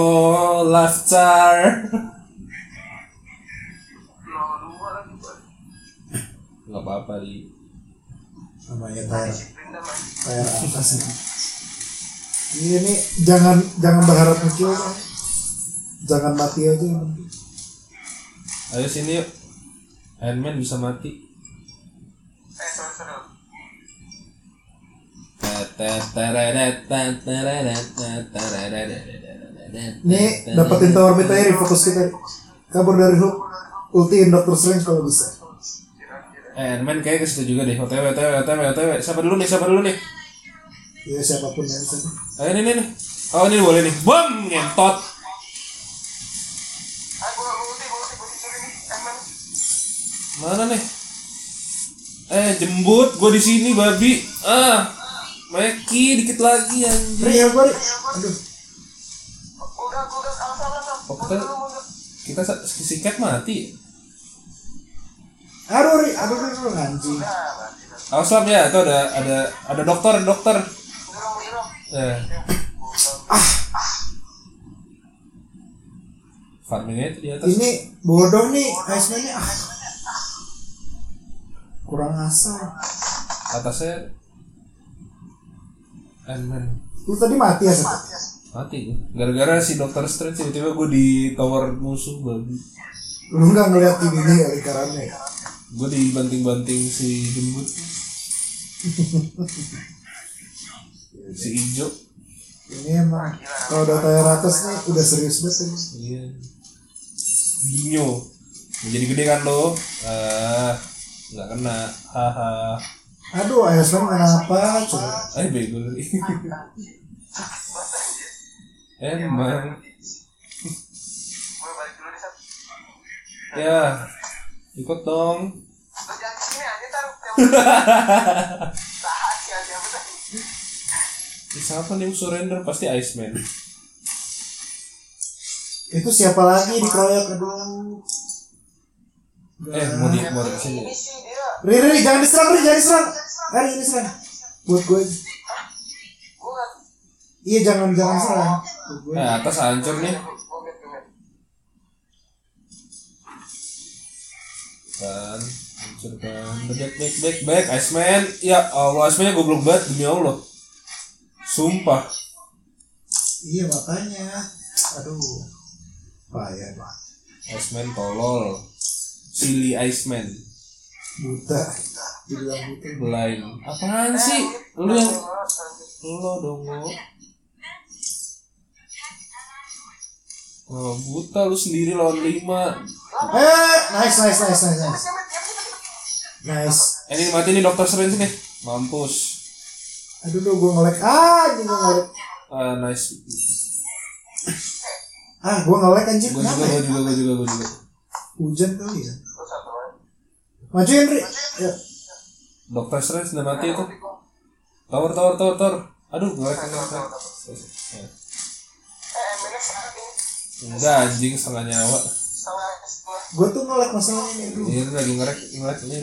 [SPEAKER 1] laughter. <laughs>
[SPEAKER 5] Lo dua lagi gua.
[SPEAKER 1] Gak apa-apa di.
[SPEAKER 2] Namanya ya, tayar
[SPEAKER 5] Disiplin dah, mati.
[SPEAKER 2] tayar atas ya. nih. Iya ini jangan jangan berharap muncul kan. Jangan mati aja yang penting.
[SPEAKER 1] Ayo sini yuk. Handman bisa mati.
[SPEAKER 5] Eh, sorry, sorry.
[SPEAKER 1] Tet,
[SPEAKER 2] Nih dapetin tower
[SPEAKER 1] Eh,
[SPEAKER 2] mid aja refokus kita. Kabur dari hook. Ultiin Doctor Strange kalau bisa.
[SPEAKER 1] Eh, Ant-Man kayaknya ke situ juga deh. OTW, OTW, OTW, OTW. Siapa dulu nih? Siapa dulu nih?
[SPEAKER 2] Ya siapapun yang bisa.
[SPEAKER 1] Ayo ini nih. Oh, ini boleh nih. Bom, ngentot.
[SPEAKER 5] Ah, gua gua ulti, gua ulti, gua ulti, sorry nih. Eh, Emang
[SPEAKER 1] Mana nih? Eh, jembut. Gua di sini, babi. Ah. Meki dikit lagi anjir.
[SPEAKER 2] Ri, help gua, Ri. Aduh.
[SPEAKER 5] gua udah gua udah alas alas alas.
[SPEAKER 1] Oh,
[SPEAKER 5] Mundur
[SPEAKER 1] kita-
[SPEAKER 5] dulu, mundur.
[SPEAKER 1] Kita sa- si singkat mati.
[SPEAKER 2] Aduh, Ri. Aduh, Ri. Aduh, anjing.
[SPEAKER 5] Nah, mati dah.
[SPEAKER 1] Awas lah ya, itu ada ada ada dokter, dokter.
[SPEAKER 5] Mundur dong, mundur dong.
[SPEAKER 1] Eh. Farmingnya itu di atas.
[SPEAKER 2] Ini bodoh nih. Iceman-nya. Ah. Kurang asal.
[SPEAKER 1] Atasnya Ant-Man
[SPEAKER 2] Lu tadi mati ya, Sat?
[SPEAKER 1] mati gua. Gara-gara si dokter Strange tiba-tiba gue di tower musuh babi.
[SPEAKER 2] Lu nggak ngeliat ininya ya, lingkarannya ya?
[SPEAKER 1] Gue dibanting-banting si jembut. si ijo.
[SPEAKER 2] Ini emang kalau udah tayar atas nih udah serius banget ini.
[SPEAKER 1] Iya. Ginyo. Jadi gede kan lo? Ah, nggak kena. Haha.
[SPEAKER 2] Aduh, Iceman kenapa coba?
[SPEAKER 1] Eh bego lu. Emang.
[SPEAKER 5] Gua balik dulu nih, Sat.
[SPEAKER 1] Ya. Ikut dong.
[SPEAKER 5] Lu jangan ke sini aja, taruh.
[SPEAKER 1] <laughs>
[SPEAKER 5] Tahan sih, aja, apa tadi?
[SPEAKER 1] Ih, Siapa nih yang surrender pasti Iceman.
[SPEAKER 2] Itu siapa lagi dikeroyok? Aduh.
[SPEAKER 1] Eh mau di mau di sini.
[SPEAKER 5] Ini sih dia.
[SPEAKER 2] Ri, Ri, Ri, jangan diserang, Ri, jangan diserang. Ri, jangan diserang. Buat gue. aja.
[SPEAKER 5] Gua nggak-
[SPEAKER 2] Iya, jangan jangan serang. Buat gue.
[SPEAKER 1] Eh atas hancur nih.
[SPEAKER 5] gua ngeliat, gua ngeliat.
[SPEAKER 1] Kan hancur kan. Back back back back Iceman. Ya Allah Iceman goblok banget demi Allah. Sumpah.
[SPEAKER 2] Iya, makanya. Aduh. Payah lah.
[SPEAKER 1] Iceman tolol. Silly Iceman.
[SPEAKER 2] Buta. Dibilang buta.
[SPEAKER 1] Blind. Apaan sih? Lu yang lo dong lo. Wah, Oh, buta lu sendiri lawan lima.
[SPEAKER 2] Eh, nice, nice, nice, nice, nice. Nice.
[SPEAKER 1] Eh, ini mati nih dokter Strange nih. Mampus.
[SPEAKER 2] Aduh, duh, gue nge-lag. Ah, ini gue nge-lag.
[SPEAKER 1] Ah, nice.
[SPEAKER 2] Ah, gue nge-lag anjir.
[SPEAKER 1] Gue juga,
[SPEAKER 2] Kenapa ya?
[SPEAKER 1] gue juga, gue juga, gue juga.
[SPEAKER 2] Hujan kali ya.
[SPEAKER 5] Lu satu lagi.
[SPEAKER 2] Majuin, Ri. Ya.
[SPEAKER 1] Dokter Strange udah mati itu. Tower, tower, tower, tower. Aduh, gue kena kena. Ya.
[SPEAKER 5] Eh, MNX sekarang ini
[SPEAKER 1] Enggak anjing setengah nyawa.
[SPEAKER 5] sama S2.
[SPEAKER 2] Gue tuh nge-lag masalahnya nih. Aduh.
[SPEAKER 1] Ini lagi ngerek, ngerek ini.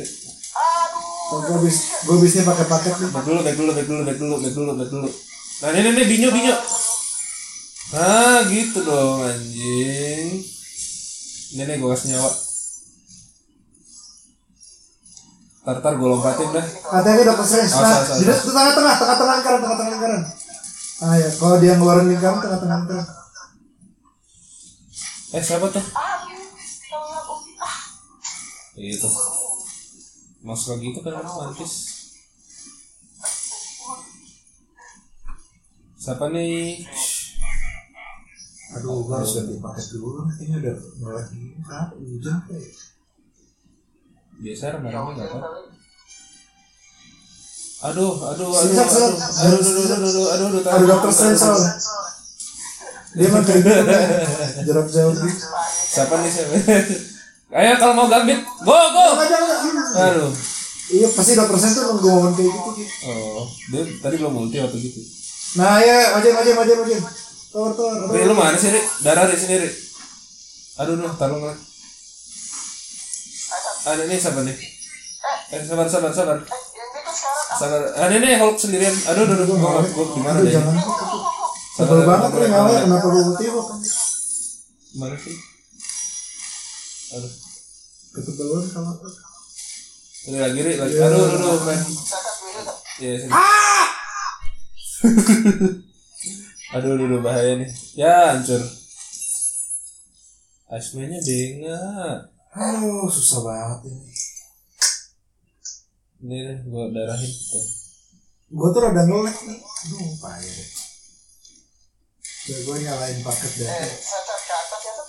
[SPEAKER 2] Kalau gue habis, gue habisnya pakai paket nih.
[SPEAKER 1] Back dulu, back dulu, back dulu, back dulu, back dulu, back dulu. Nah, ini ini binyo binyo. Nah, gitu dong anjing. Ini nih gue kasih nyawa. Tar tar gue lompatin dah.
[SPEAKER 2] Katanya dokter Strange.
[SPEAKER 1] Awas,
[SPEAKER 2] Nah,
[SPEAKER 1] awas, awas.
[SPEAKER 2] di tengah-tengah, tengah-tengah lingkaran, tengah-tengah lingkaran. Ah ya, kalau dia ngeluarin lingkaran, tengah-tengah lingkaran.
[SPEAKER 1] Eh siapa tuh? Itu. Masuk lagi Gitu. itu kan orang mantis. Siapa nih?
[SPEAKER 2] Aduh, gue harus ganti paket dulu. Ini udah ngelag gini. Kenapa? Hujan apa ya?
[SPEAKER 1] Biasa ramai-ramai nggak apa? Aduh, aduh, aduh, aduh,
[SPEAKER 2] Sikat,
[SPEAKER 1] aduh,
[SPEAKER 2] sikat.
[SPEAKER 1] aduh, aduh, aduh, aduh, aduh,
[SPEAKER 2] Aduh,
[SPEAKER 1] aduh,
[SPEAKER 2] dokter Strange soalnya.
[SPEAKER 5] Eh,
[SPEAKER 2] Dia mah kayak gitu kan. Jarak jauh gitu.
[SPEAKER 1] Siapa nih siapa? <laughs> Ayo kalau mau gambit, go go.
[SPEAKER 2] Jangan, jangan, jangan.
[SPEAKER 1] Aduh.
[SPEAKER 2] Iya, pasti dokter Strange tuh nunggu momen kayak gitu. Ki.
[SPEAKER 1] Oh, dia tadi belum multi waktu gitu.
[SPEAKER 2] Nah, ya, majuin, majuin, majuin, majuin. Tower, tower.
[SPEAKER 1] Ri, lu mana sih, Ri? Darah di sini, Ri. Aduh, duh, taruh ngelak. Ada nih siapa nih? Eh, sabar, sabar, sabar.
[SPEAKER 5] Eh, yang itu sekarang
[SPEAKER 1] Sabar. Ah, ini nih Hulk sendirian. Aduh, aduh, aduh, gua gua gimana
[SPEAKER 2] Aduh,
[SPEAKER 1] deh?
[SPEAKER 2] jangan. Sebel banget nih ngawanya, kenapa gue ulti kok.
[SPEAKER 1] Mana sih? Aduh.
[SPEAKER 2] Ketebalan kalau
[SPEAKER 1] Ri lagi, Ri
[SPEAKER 2] Iya.
[SPEAKER 1] lagi. Aduh, aduh, aduh, men.
[SPEAKER 5] kakak gue itu tak-
[SPEAKER 1] Iya, sini.
[SPEAKER 2] Ah!
[SPEAKER 1] <laughs> Aduh, aduh, aduh, bahaya nih. Ya, hancur. Asmanya bengak.
[SPEAKER 2] Aduh, susah banget ini.
[SPEAKER 1] Ini nih, gua darahin. Tuh.
[SPEAKER 2] gue tuh rada ngelek nih aduh payah deh Coba gue nyalain paket deh
[SPEAKER 5] Eh, set-set ke atas ya, set.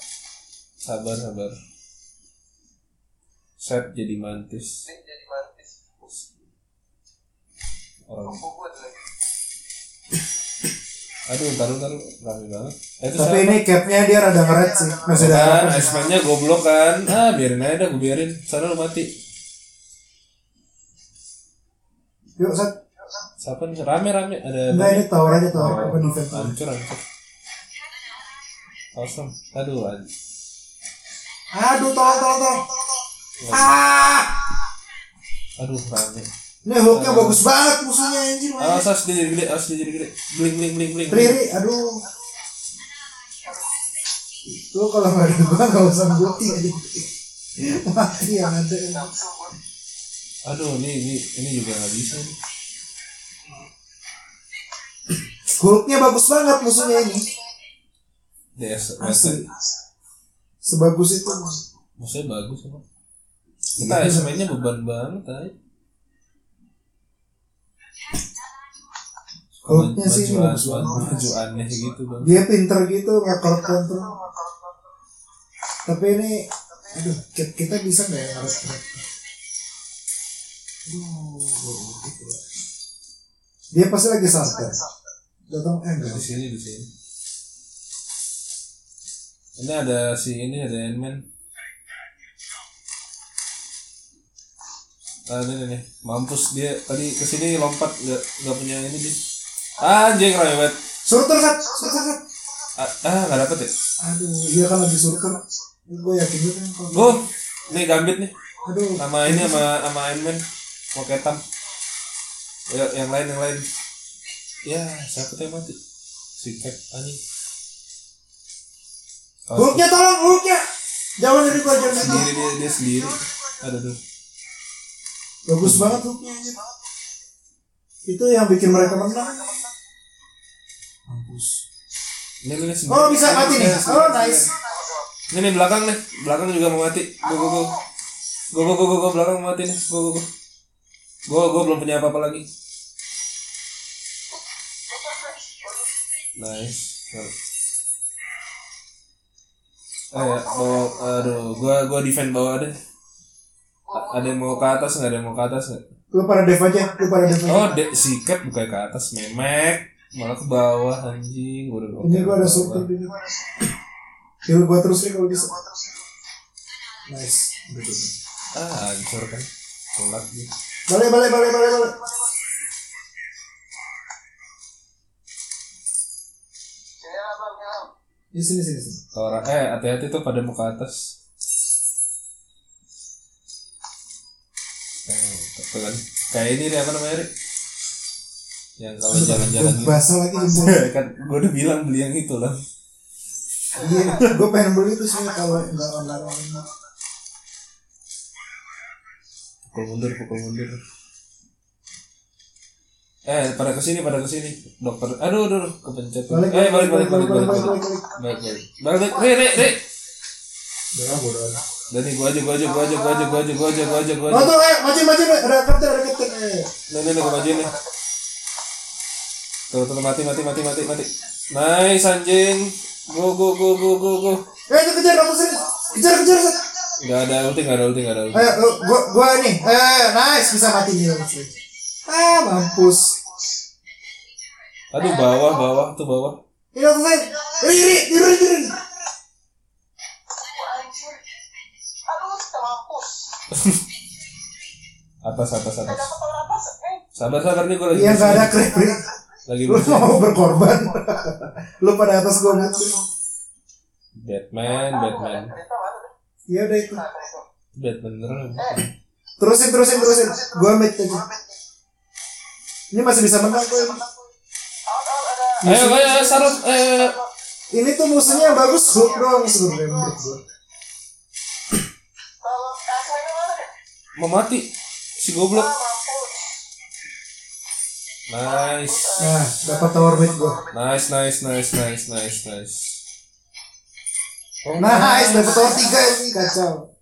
[SPEAKER 1] Sabar, sabar. Set jadi mantis.
[SPEAKER 5] Ini jadi mantis.
[SPEAKER 1] Orang.
[SPEAKER 5] Bobot lagi.
[SPEAKER 1] Aduh, taruh taruh rame banget. Eh, itu
[SPEAKER 2] tapi
[SPEAKER 1] siapa?
[SPEAKER 2] ini capnya dia rada ngeret sih masih ada
[SPEAKER 1] kan,
[SPEAKER 2] harapan.
[SPEAKER 1] Iceman-nya goblok kan. Ah, biarin aja dah, gue biarin. Sana lu mati.
[SPEAKER 2] yuk set
[SPEAKER 1] Siapa nih? Rame-rame ada.
[SPEAKER 2] enggak ini tawar aja
[SPEAKER 1] Oh,
[SPEAKER 2] tawar apa defense
[SPEAKER 1] Hancur, hancur. Awesome. Aduh, anjir.
[SPEAKER 2] aduh tolong tolong tolong ah
[SPEAKER 1] Aduh, rame.
[SPEAKER 2] ini hooknya bagus banget musuhnya anjir
[SPEAKER 1] Ah,
[SPEAKER 2] man.
[SPEAKER 1] awas, awas, dia jadi gede, awas, dia jadi gede. Bling, bling, bling, bling.
[SPEAKER 2] Riri aduh lu kalau nggak ada gua nggak usah mati aja mati yang ada
[SPEAKER 5] Nafsu gua.
[SPEAKER 1] Aduh, ini, ini, ini juga nggak bisa. nih.
[SPEAKER 2] Hulknya bagus banget musuhnya ini
[SPEAKER 1] DS,
[SPEAKER 2] asli
[SPEAKER 1] Western.
[SPEAKER 2] sebagus itu
[SPEAKER 1] Maksudnya bagus apa? Kita
[SPEAKER 2] Iya.
[SPEAKER 1] ya, Iceman-nya beban banget, ay.
[SPEAKER 2] Hulknya sih ini
[SPEAKER 1] Baju-
[SPEAKER 2] bagus
[SPEAKER 1] baju-
[SPEAKER 2] banget
[SPEAKER 1] baju aneh gitu bang.
[SPEAKER 2] dia pinter gitu ngakor kontrol tapi ini aduh ki- kita bisa nggak ya harus aduh gitu lah. dia pasti lagi santai datang eh enggak
[SPEAKER 1] Di sini, di sini. Ini ada si ini ada Ant-Man. Ah, ini, ini, ini. mampus dia tadi kesini lompat nggak nggak punya ini dia. Ah, Anjing rewet.
[SPEAKER 2] surter kan surter kan
[SPEAKER 1] Ah, ah nggak dapet ya.
[SPEAKER 2] aduh dia kan lagi surter gue yakin gitu kan
[SPEAKER 1] Oh,
[SPEAKER 2] kalau
[SPEAKER 1] nih gambit nih.
[SPEAKER 2] aduh
[SPEAKER 1] Sama ini sama sama Ant-Man. Mau ketam. Ya, yang lain yang lain. Ya, siapa tuh yang mati? Si Cap anjing. Oh,
[SPEAKER 2] hulknya tolong hulknya jauh dari gua jauh dari
[SPEAKER 1] sendiri
[SPEAKER 2] gua.
[SPEAKER 1] dia dia sendiri aduh aduh
[SPEAKER 2] bagus banget hulknya anjir. itu yang bikin mereka menang mampus
[SPEAKER 1] ini ini sendiri
[SPEAKER 2] oh bisa mati nih oh nice
[SPEAKER 1] ini nih belakang nih belakang juga mau mati go go go go go go go, go. belakang mau mati nih go go go go go belum punya apa apa lagi nice Oh ya, bawa, aduh, gua gua defend bawah deh. A- Ada yang mau ke atas nggak? Ada yang mau ke atas nggak?
[SPEAKER 2] lu pada dev aja lu pada dev aja
[SPEAKER 1] Oh, de si Cap bukan ke atas, memek malah ke bawah anjing. Gua udah
[SPEAKER 2] ini gua ada surter di sini. heal gua terus nih kalau bisa nice Betul.
[SPEAKER 1] Ah, hancur kan. Telat gitu.
[SPEAKER 2] balik balik balik balik balik
[SPEAKER 5] Sini lah, Bang, ya.
[SPEAKER 2] di sini sini sini
[SPEAKER 1] Orang eh hati-hati tuh pada muka atas. Eh, tuh kan. Kayak ini nih apa namanya, Ri? Yang kalau Oh, jalan-jalan
[SPEAKER 2] <laughs> Gua basah lagi jempol
[SPEAKER 1] gitu. kan gua udah bilang beli yang itu lah.
[SPEAKER 2] Iya, gue pengen beli itu sih kalau nggak online online.
[SPEAKER 1] Pukul mundur, pukul mundur. Eh, pada kesini, pada kesini. Dokter, aduh, aduh, aduh, kepencet.
[SPEAKER 2] Balik,
[SPEAKER 1] eh, balik, balik, balik, balik,
[SPEAKER 2] balik,
[SPEAKER 1] balik,
[SPEAKER 2] balik.
[SPEAKER 1] balik, balik, balik, Ri, Ri, Ri.
[SPEAKER 2] Jangan bodoh.
[SPEAKER 1] Dan nih, gua aja, gua aja, gua aja, gua aja, gua aja, gua aja, gua aja, gua
[SPEAKER 2] Oh
[SPEAKER 1] aja.
[SPEAKER 2] tuh, eh, maju maju ada kapten ada kapten. Eh.
[SPEAKER 1] Nih, nih, nih, gua majuin nih. Tuh, tuh, tuh, mati, mati, mati, mati, mati. Nice, anjing. Go, go, go, go, go, go.
[SPEAKER 2] Eh, itu kejar dokter sini, kejar kejar. Sat.
[SPEAKER 1] Gak ada ulti, gak ada ulti, gak ada ulti.
[SPEAKER 2] Ayo, lu, gua gua ini, eh, nice bisa mati nih dokter sini. Ah, mampus.
[SPEAKER 1] Aduh, bawah, bawah, tuh bawah.
[SPEAKER 2] Ini dokter sini, riri, riri, riri.
[SPEAKER 5] Aduh, kita mampus.
[SPEAKER 1] Atas, atas, atas.
[SPEAKER 5] Dapat orang atas, eh.
[SPEAKER 1] Sabar, sabar nih, gua lagi.
[SPEAKER 2] Iya nggak ada
[SPEAKER 1] pusing.
[SPEAKER 2] krek riri.
[SPEAKER 1] Lagi
[SPEAKER 2] Lu
[SPEAKER 1] pusing.
[SPEAKER 2] mau berkorban? <laughs> Lu pada atas gua mati.
[SPEAKER 1] Batman, Batman.
[SPEAKER 5] Kereta mana tuh?
[SPEAKER 2] Iya udah itu.
[SPEAKER 5] Nah, kereta.
[SPEAKER 1] Batman beneran.
[SPEAKER 5] Eh,
[SPEAKER 2] Terusin terusin terusin. Gua mate aja. Ini masih bisa menang gua. ini.
[SPEAKER 5] Awas, awas, ada.
[SPEAKER 1] Ayo, ayo, ayo, sarut. Eh,
[SPEAKER 2] Ini tuh musuhnya yang bagus Hulk doang sebenarnya menurut gua.
[SPEAKER 5] Tolong, eh, kereta mana deh?
[SPEAKER 1] mau mati. Si goblok.
[SPEAKER 5] Ah, mampus.
[SPEAKER 1] Nice.
[SPEAKER 2] Nah, dapat tower mid gua.
[SPEAKER 1] Nice, nice, nice, nice, nice, nice. Oh,
[SPEAKER 2] Nice, dapat tower 3 ini kacau.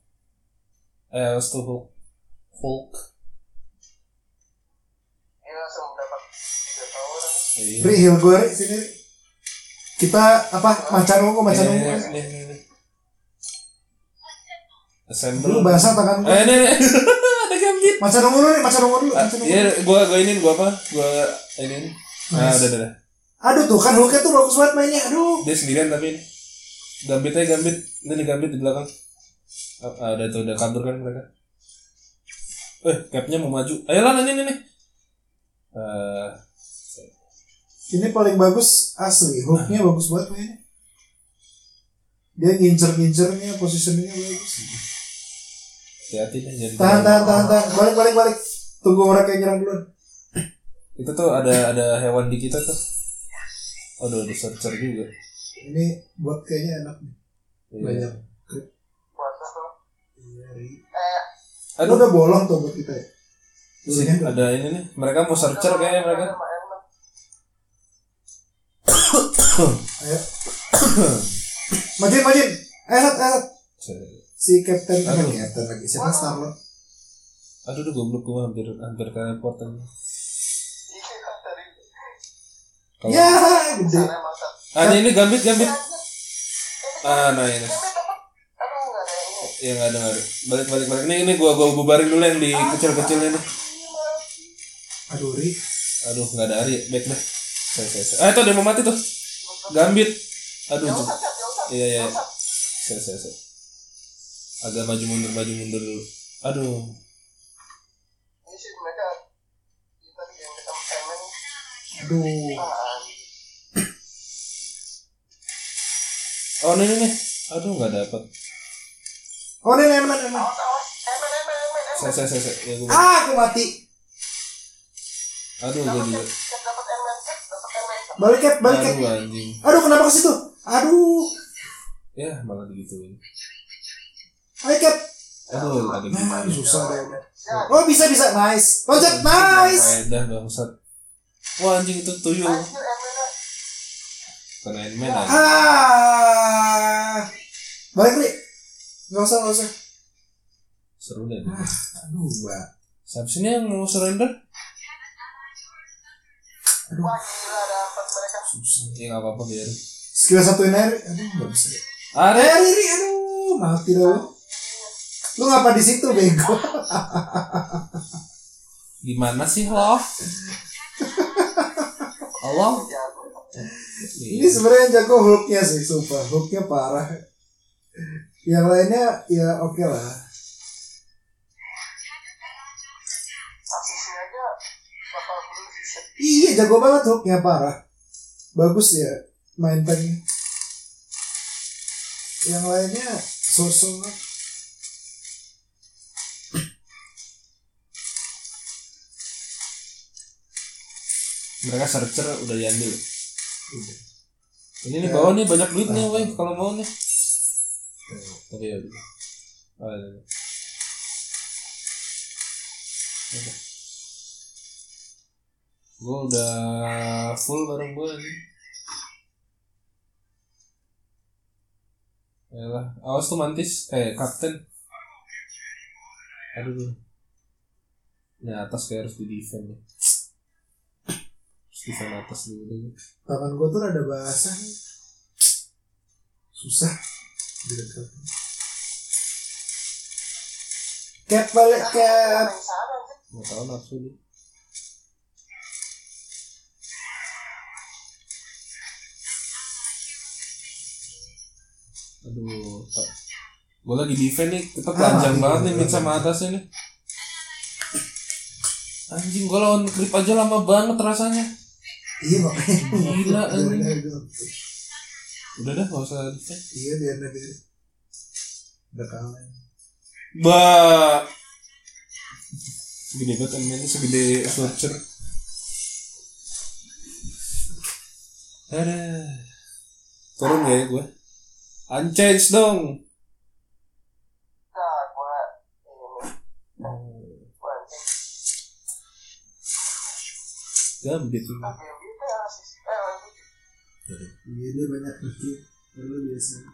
[SPEAKER 1] Eh, awas tuh Hulk. Hulk.
[SPEAKER 5] Ini langsung dapat. Tiga tahun.
[SPEAKER 1] Iya.
[SPEAKER 2] Ri heal gue Ri sini Ri. Kita apa macan ungu
[SPEAKER 1] Nih,
[SPEAKER 2] macan ungu.
[SPEAKER 1] nih, Eh, nih, nih, nih. Assemble.
[SPEAKER 2] Lu basah tangan gue.
[SPEAKER 1] Eh, nih, <laughs> nih. Ada gambit.
[SPEAKER 2] Macan ungu dulu nih macan ungu dulu. Macan ungu.
[SPEAKER 1] Iya, gua gua inin gua apa? Gua inin. Nah,
[SPEAKER 2] Nice.
[SPEAKER 1] udah, udah, udah.
[SPEAKER 2] Aduh tuh kan hooknya tuh bagus banget mainnya. Aduh.
[SPEAKER 1] Dia sendirian tapi ini. Gambitnya gambit. Ini nih gambit di belakang. Ah, ah, udah tuh udah kabur kan mereka. Eh, capnya mau maju. Ayolah nanya nih nih. Eh,
[SPEAKER 2] Ini paling bagus asli. Hooknya
[SPEAKER 1] Ah.
[SPEAKER 2] bagus banget mainnya. Dia ngincer-ngincernya, positioningnya bagus.
[SPEAKER 1] hati-hati nih jadi.
[SPEAKER 2] Tahan, tahan, tahan, tahan. Balik, balik, balik. Tunggu mereka yang nyerang duluan.
[SPEAKER 1] Itu tuh ada ada hewan di kita tuh. Aduh, ada searcher juga. Iya.
[SPEAKER 2] Ini buat kayaknya enak nih. Banyak.
[SPEAKER 5] Puasa tuh.
[SPEAKER 2] Iya, Ri.
[SPEAKER 5] Eh,
[SPEAKER 2] Lu
[SPEAKER 1] Aduh,
[SPEAKER 2] udah bolong tuh buat kita ya.
[SPEAKER 1] sih,
[SPEAKER 2] Dulunya.
[SPEAKER 1] ada ini nih. Mereka mau searcher kayaknya mereka. <coughs>
[SPEAKER 2] Ayo. Majin, Majin. Eh, eh, eh. Si Captain, eh,
[SPEAKER 1] Aduh.
[SPEAKER 2] Captain lagi. Siapa Star Lord?
[SPEAKER 1] Aduh, aduh goblok gua hampir hampir teleport aja.
[SPEAKER 5] Iya, tadi.
[SPEAKER 1] Kalau-
[SPEAKER 2] Ya, gede.
[SPEAKER 5] Sana emang satu.
[SPEAKER 1] Ah, ini gambit gambit. Ah, nah ini.
[SPEAKER 5] Aduh, nggak ada yang ini.
[SPEAKER 1] Ya nggak ada nggak ada. Balik balik balik. Ini ini gua gua bubarin dulu yang di kecil kecilnya nih.
[SPEAKER 2] Aduh, Ri.
[SPEAKER 1] Aduh nggak ada Ari. Baik deh. Saya saya saya. Ah itu ada yang mau mati tuh. Gambit. Aduh. jem-
[SPEAKER 5] Nggak usah, nggak usah.
[SPEAKER 1] Iya iya.
[SPEAKER 5] Nggak usah.
[SPEAKER 1] Saya saya saya. Agak maju mundur maju mundur dulu. Aduh.
[SPEAKER 5] Ini sih mereka. Kita di game kita main.
[SPEAKER 2] Aduh.
[SPEAKER 5] Ah,
[SPEAKER 1] Oh ini ini. nih. Aduh nggak dapat.
[SPEAKER 2] Oh, nih, nih, nih, nih.
[SPEAKER 5] awas, awas. Emen, emen, emen, emen.
[SPEAKER 1] Saya saya saya. saya. Ya, gua.
[SPEAKER 2] Ah, aku mati.
[SPEAKER 1] Aduh gua juga.
[SPEAKER 5] Kita dapat emen, kita dapat emen.
[SPEAKER 2] Balik, Cap, balik, Cap.
[SPEAKER 1] Aduh anjing.
[SPEAKER 2] Aduh, kenapa ke situ? Aduh.
[SPEAKER 1] Ya malah digituin.
[SPEAKER 2] Ayo, Cap.
[SPEAKER 1] Aduh ada
[SPEAKER 2] Nah,
[SPEAKER 1] gimana?
[SPEAKER 2] susah deh. Oh, bisa, bisa. Nice. Loncat, nice.
[SPEAKER 1] Faedah bangsat. Wah anjing itu tuyul.
[SPEAKER 5] Anjir, emennya.
[SPEAKER 1] Keren men anjing.
[SPEAKER 2] Ah. Balik, Ri. Gak usah, gak usah.
[SPEAKER 1] Seru deh. dia.
[SPEAKER 2] Aduh, Mbak.
[SPEAKER 1] Siapa sih nih yang mau surrender?
[SPEAKER 5] Wah, gila, dapat mereka.
[SPEAKER 2] Susah.
[SPEAKER 1] Ya nggak apa-apa biar.
[SPEAKER 2] Skill satuin aja, Ri. Aduh, gak bisa.
[SPEAKER 1] Ada.
[SPEAKER 2] Eh, Ri, Ri. Aduh, mati dah lu. Lu ngapa di situ, bego?
[SPEAKER 1] Gimana sih lo? Allah. Iya.
[SPEAKER 5] Jago.
[SPEAKER 2] Ini sebenarnya yang jago hooknya sih, sumpah. Hooknya parah. Yang lainnya ya oke lah.
[SPEAKER 5] Asisi aja. Bakal dulu sih.
[SPEAKER 2] Iya jago banget hooknya parah. Bagus ya main tanknya. Yang lainnya sosok lah.
[SPEAKER 1] Mereka searcher udah diambil.
[SPEAKER 2] Udah.
[SPEAKER 1] Ini nih bawa nih banyak duit nih, weh kalau mau nih. Tapi ya. udah. Oh, ada. Oke. Gue udah full barang gue ini. Yalah, awas tuh mantis, eh kapten. Aduh. Nah atas kayak harus di defend nih. Harus defend atas dulu deh.
[SPEAKER 2] Tangan gue tuh ada basah. nih. Susah. Direkam. Cap balik cap. Eh,
[SPEAKER 5] Main sana, anjir.
[SPEAKER 1] Nggak tahu nafsu dia. Aduh, tak. Gue lagi defend nih, kita telanjang
[SPEAKER 2] Ah,
[SPEAKER 1] banget
[SPEAKER 2] iya,
[SPEAKER 1] nih, mid sama atasnya nih. Anjing, gue lawan grip aja lama banget rasanya.
[SPEAKER 2] Iya makanya.
[SPEAKER 1] Gila,
[SPEAKER 2] Biarin
[SPEAKER 1] anjing.
[SPEAKER 2] aja gitu.
[SPEAKER 1] Udah dah, gak usah defend.
[SPEAKER 2] Iya biar nanti. Udah kalah.
[SPEAKER 1] Ba. Segede banget animenya segede Fletcher. Ada. Turun gak ya gue? Unchange dong.
[SPEAKER 5] Nah, gua ini. Gua anjing.
[SPEAKER 1] Gambit lu.
[SPEAKER 5] assim, é, Tapi yang gitu ya, asisi. Eh, anjing.
[SPEAKER 2] Iya dia banyak kecil. Lalu biasa.